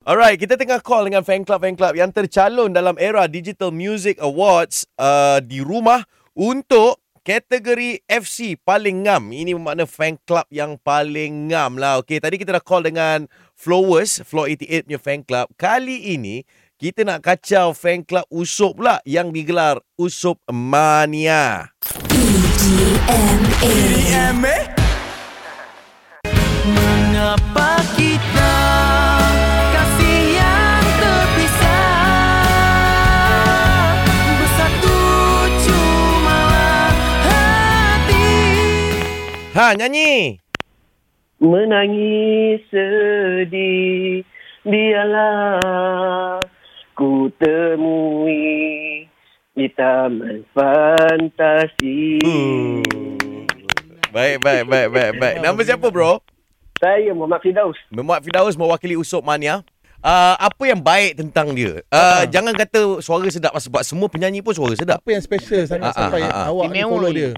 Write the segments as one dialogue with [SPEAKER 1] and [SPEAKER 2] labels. [SPEAKER 1] Alright, kita tengah call dengan fan club-fan club yang tercalon dalam era Digital Music Awards uh, di rumah untuk kategori FC paling ngam. Ini bermakna fan club yang paling ngam lah. Okay, tadi kita dah call dengan Flowers, Flow 88 punya fan club. Kali ini, kita nak kacau fan club Usop pula yang digelar Usop Mania.
[SPEAKER 2] Mengapa kita kasih yang terpisah Bersatu cuma hati
[SPEAKER 1] Ha, nyanyi.
[SPEAKER 3] Menangis sedih Biarlah ku temui Di taman fantasi
[SPEAKER 1] Hmm. Baik, baik, baik, baik, baik. Nama siapa bro?
[SPEAKER 3] Saya Muhammad Fidaus
[SPEAKER 1] Muhammad Fidaus mewakili Usop Mania. Uh, apa yang baik tentang dia? Uh, Jangan kata suara sedap sebab semua penyanyi pun suara sedap.
[SPEAKER 4] Apa yang special sangat
[SPEAKER 1] Ah, ah,
[SPEAKER 4] sampai
[SPEAKER 1] ah, ah.
[SPEAKER 4] awak ni
[SPEAKER 2] Istimewa
[SPEAKER 4] follow
[SPEAKER 2] ni.
[SPEAKER 4] dia?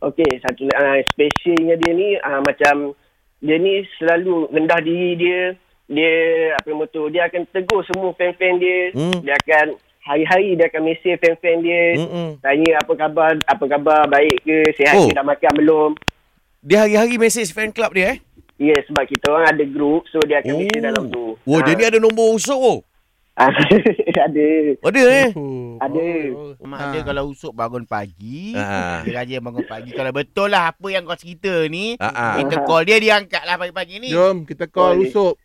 [SPEAKER 3] Okey, satu uh, specialnya dia ni uh, macam dia ni selalu rendah diri dia. Dia apa motor dia akan tegur semua fan-fan dia.
[SPEAKER 1] Hmm.
[SPEAKER 3] Hmm. Dia akan hari-hari dia akan mesej fan-fan dia. Hmm.
[SPEAKER 1] Mm-mm.
[SPEAKER 3] Tanya apa khabar, apa khabar, baik ke, sihat
[SPEAKER 1] Oh.
[SPEAKER 3] oh. ke, dah makan belum.
[SPEAKER 1] Dia hari-hari message fan club dia eh.
[SPEAKER 3] Ya, yeah, sebab kita orang ada group so dia akan mesej dalam tu.
[SPEAKER 1] Oh, dia ni
[SPEAKER 3] Ah.
[SPEAKER 1] ada nombor Usop oh.
[SPEAKER 3] ada.
[SPEAKER 1] Ada eh.
[SPEAKER 4] Oh,
[SPEAKER 3] Ada.
[SPEAKER 4] oh, oh.
[SPEAKER 5] Mak
[SPEAKER 4] Ah.
[SPEAKER 5] ha. dia kalau usuk bangun pagi,
[SPEAKER 1] Ah.
[SPEAKER 5] ha. dia rajin bangun pagi. Kalau betul lah apa yang kau cerita ni,
[SPEAKER 1] Ah, ah.
[SPEAKER 5] kita call dia, dia angkat lah pagi-pagi ni.
[SPEAKER 4] Jom kita call
[SPEAKER 3] Boleh.
[SPEAKER 4] Usop.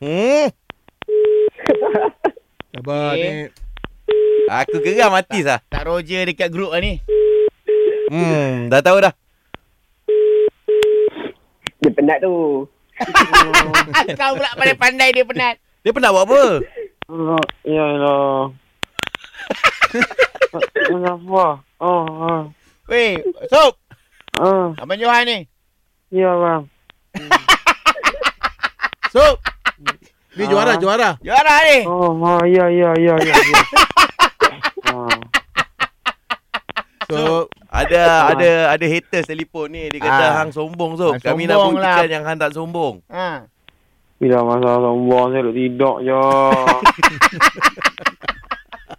[SPEAKER 1] Hmm.
[SPEAKER 4] Sabar
[SPEAKER 5] Okey.
[SPEAKER 4] ni.
[SPEAKER 1] Aku geram hati sah.
[SPEAKER 5] Tak roja dekat grup lah ni.
[SPEAKER 1] Hmm, dah tahu dah.
[SPEAKER 3] Dia penat tu.
[SPEAKER 5] Kau pula pandai-pandai dia penat.
[SPEAKER 1] Dia pernah buat apa?
[SPEAKER 6] Oh, ya Allah. Kenapa? Oh, oh,
[SPEAKER 5] Weh, Sob,
[SPEAKER 6] oh.
[SPEAKER 5] Abang Johan ni.
[SPEAKER 6] Ya, bang.
[SPEAKER 5] Sob,
[SPEAKER 1] Ah.
[SPEAKER 4] Ni juara, juara.
[SPEAKER 5] Johan lah ni.
[SPEAKER 6] Oh, oh, ya, ya, ya, ya. ya. oh.
[SPEAKER 4] So,
[SPEAKER 1] Ada ada ada haters telefon ni dia kata
[SPEAKER 5] Ah.
[SPEAKER 1] hang sombong Sob.
[SPEAKER 5] Hang
[SPEAKER 1] Kami nak
[SPEAKER 5] sombong
[SPEAKER 1] buktikan
[SPEAKER 5] lah.
[SPEAKER 1] yang hang tak sombong.
[SPEAKER 5] Ha.
[SPEAKER 6] Bila masa sombong, saya duduk tidur ya. je.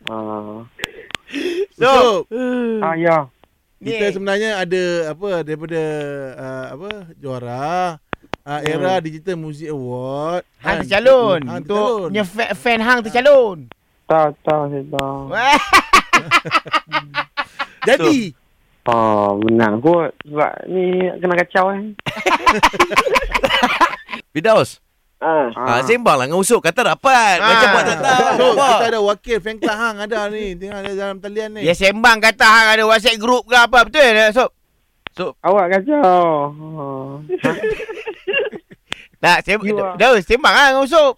[SPEAKER 6] ah.
[SPEAKER 4] Usop.
[SPEAKER 6] ah, ya.
[SPEAKER 5] Ni.
[SPEAKER 4] Kita sebenarnya ada apa daripada uh, apa juara uh,
[SPEAKER 1] Hmm.
[SPEAKER 4] era Digital Music Award. Ah,
[SPEAKER 5] Hang tercalon.
[SPEAKER 4] Hang
[SPEAKER 5] Ah, Untuk
[SPEAKER 4] tercalon.
[SPEAKER 5] punya fa- fan Hang tercalon.
[SPEAKER 6] Tak, tak, saya
[SPEAKER 1] Ha.
[SPEAKER 6] tak.
[SPEAKER 5] Wah.
[SPEAKER 4] Jadi
[SPEAKER 6] Ah, benar kot. Sebab ni kena kacau kan.
[SPEAKER 1] Fidaus,
[SPEAKER 3] Ah.
[SPEAKER 1] ah. sembanglah dengan Usop kata dapat.
[SPEAKER 5] Ah.
[SPEAKER 1] Macam buat tak tahu.
[SPEAKER 4] so,
[SPEAKER 1] Apa?
[SPEAKER 4] kita ada wakil fan club hang ada ni tengah ada dalam talian ni.
[SPEAKER 5] Dia sembang kata Hang ada WhatsApp group ke apa. Betul tak, Sob?
[SPEAKER 6] Awak kacau. Ah.
[SPEAKER 5] Tak, sem-
[SPEAKER 6] You are-
[SPEAKER 5] Daus, sembang lah dengan Usop.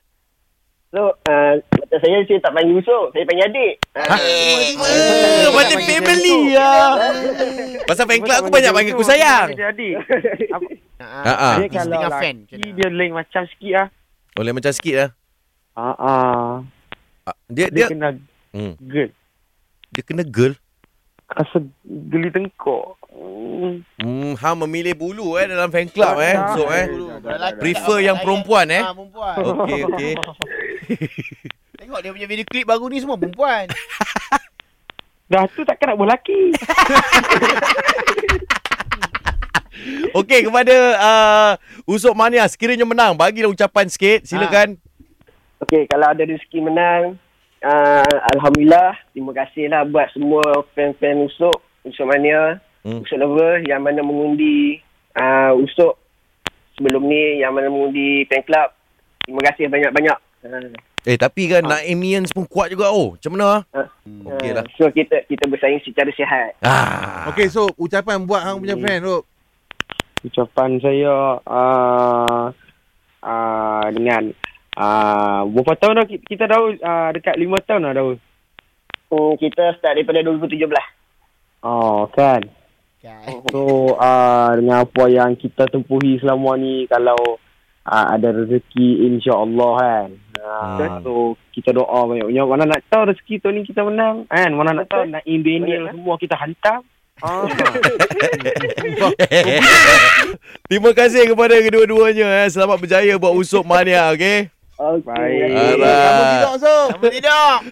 [SPEAKER 3] So, uh, macam saya, saya tak panggil usuk. Saya panggil adik.
[SPEAKER 5] Ha.
[SPEAKER 3] Ah.
[SPEAKER 1] Eh, Macam family lah. Pasal fan club aku banyak panggil aku sayang.
[SPEAKER 6] Jadi,
[SPEAKER 1] Ha ah.
[SPEAKER 6] dia
[SPEAKER 5] Dia
[SPEAKER 6] kalau
[SPEAKER 5] setengah fan.
[SPEAKER 6] lelaki, dia lain macam sikit lah.
[SPEAKER 1] Boleh macam sikit lah.
[SPEAKER 6] Ah, ah.
[SPEAKER 1] Ah, Dia dia
[SPEAKER 6] Dia, kena
[SPEAKER 1] Hmm.
[SPEAKER 6] girl.
[SPEAKER 1] dia kena girl.
[SPEAKER 6] Rasa geli tengkok. Hmm.
[SPEAKER 1] Hmm, hang memilih bulu eh dalam fan club eh. So eh.
[SPEAKER 5] Lelaki
[SPEAKER 1] Prefer
[SPEAKER 5] lah, tak
[SPEAKER 1] yang
[SPEAKER 5] pakai
[SPEAKER 1] perempuan,
[SPEAKER 5] ayat.
[SPEAKER 1] eh?
[SPEAKER 5] Ah, perempuan.
[SPEAKER 1] Okey okey.
[SPEAKER 5] Tengok dia punya video klip baru ni semua perempuan.
[SPEAKER 6] Dah tu takkan nak buat lelaki.
[SPEAKER 1] Okey kepada uh, Usop Mania sekiranya menang bagilah ucapan sikit silakan.
[SPEAKER 3] Okey, kalau ada rezeki menang, uh, Alhamdulillah. Terima kasihlah buat semua fan-fan Usuk, Usuk Mania,
[SPEAKER 1] Hmm.
[SPEAKER 3] hmm. Usuk Lover yang mana mengundi uh, Usuk sebelum ni, yang mana mengundi fan club. Terima kasih banyak-banyak. Uh,
[SPEAKER 1] Eh tapi kan Naimians pun kuat juga oh. Macam mana? Okey lah.
[SPEAKER 3] Ah, So, kita kita bersaing secara sihat.
[SPEAKER 1] Ah.
[SPEAKER 4] Okey so ucapan buat hang
[SPEAKER 3] Hmm.
[SPEAKER 4] punya fan tu.
[SPEAKER 6] Ucapan saya uh, uh, dengan uh, berapa tahun dah ki- kita dah uh, dekat lima tahun dah dah.
[SPEAKER 3] Hmm, kita start daripada 2017.
[SPEAKER 6] Oh kan.
[SPEAKER 5] Kan?
[SPEAKER 6] So uh, dengan apa yang kita tempuhi selama ni kalau uh, ada rezeki ah, insya-Allah kan.
[SPEAKER 1] Hmm.
[SPEAKER 6] So kita doa banyak-banyak. Mana nak tahu rezeki tahun ni kita menang kan. Mana nak tahu nak
[SPEAKER 3] Betul,
[SPEAKER 6] Indonesia
[SPEAKER 3] eh?
[SPEAKER 6] semua kita hantar. Ah.
[SPEAKER 1] Terima kasih kepada kedua-duanya eh. Selamat berjaya buat usop mania, okey?
[SPEAKER 6] Baik.
[SPEAKER 1] Alright.
[SPEAKER 4] Kamu tidak, Sob.
[SPEAKER 5] Kamu tidak.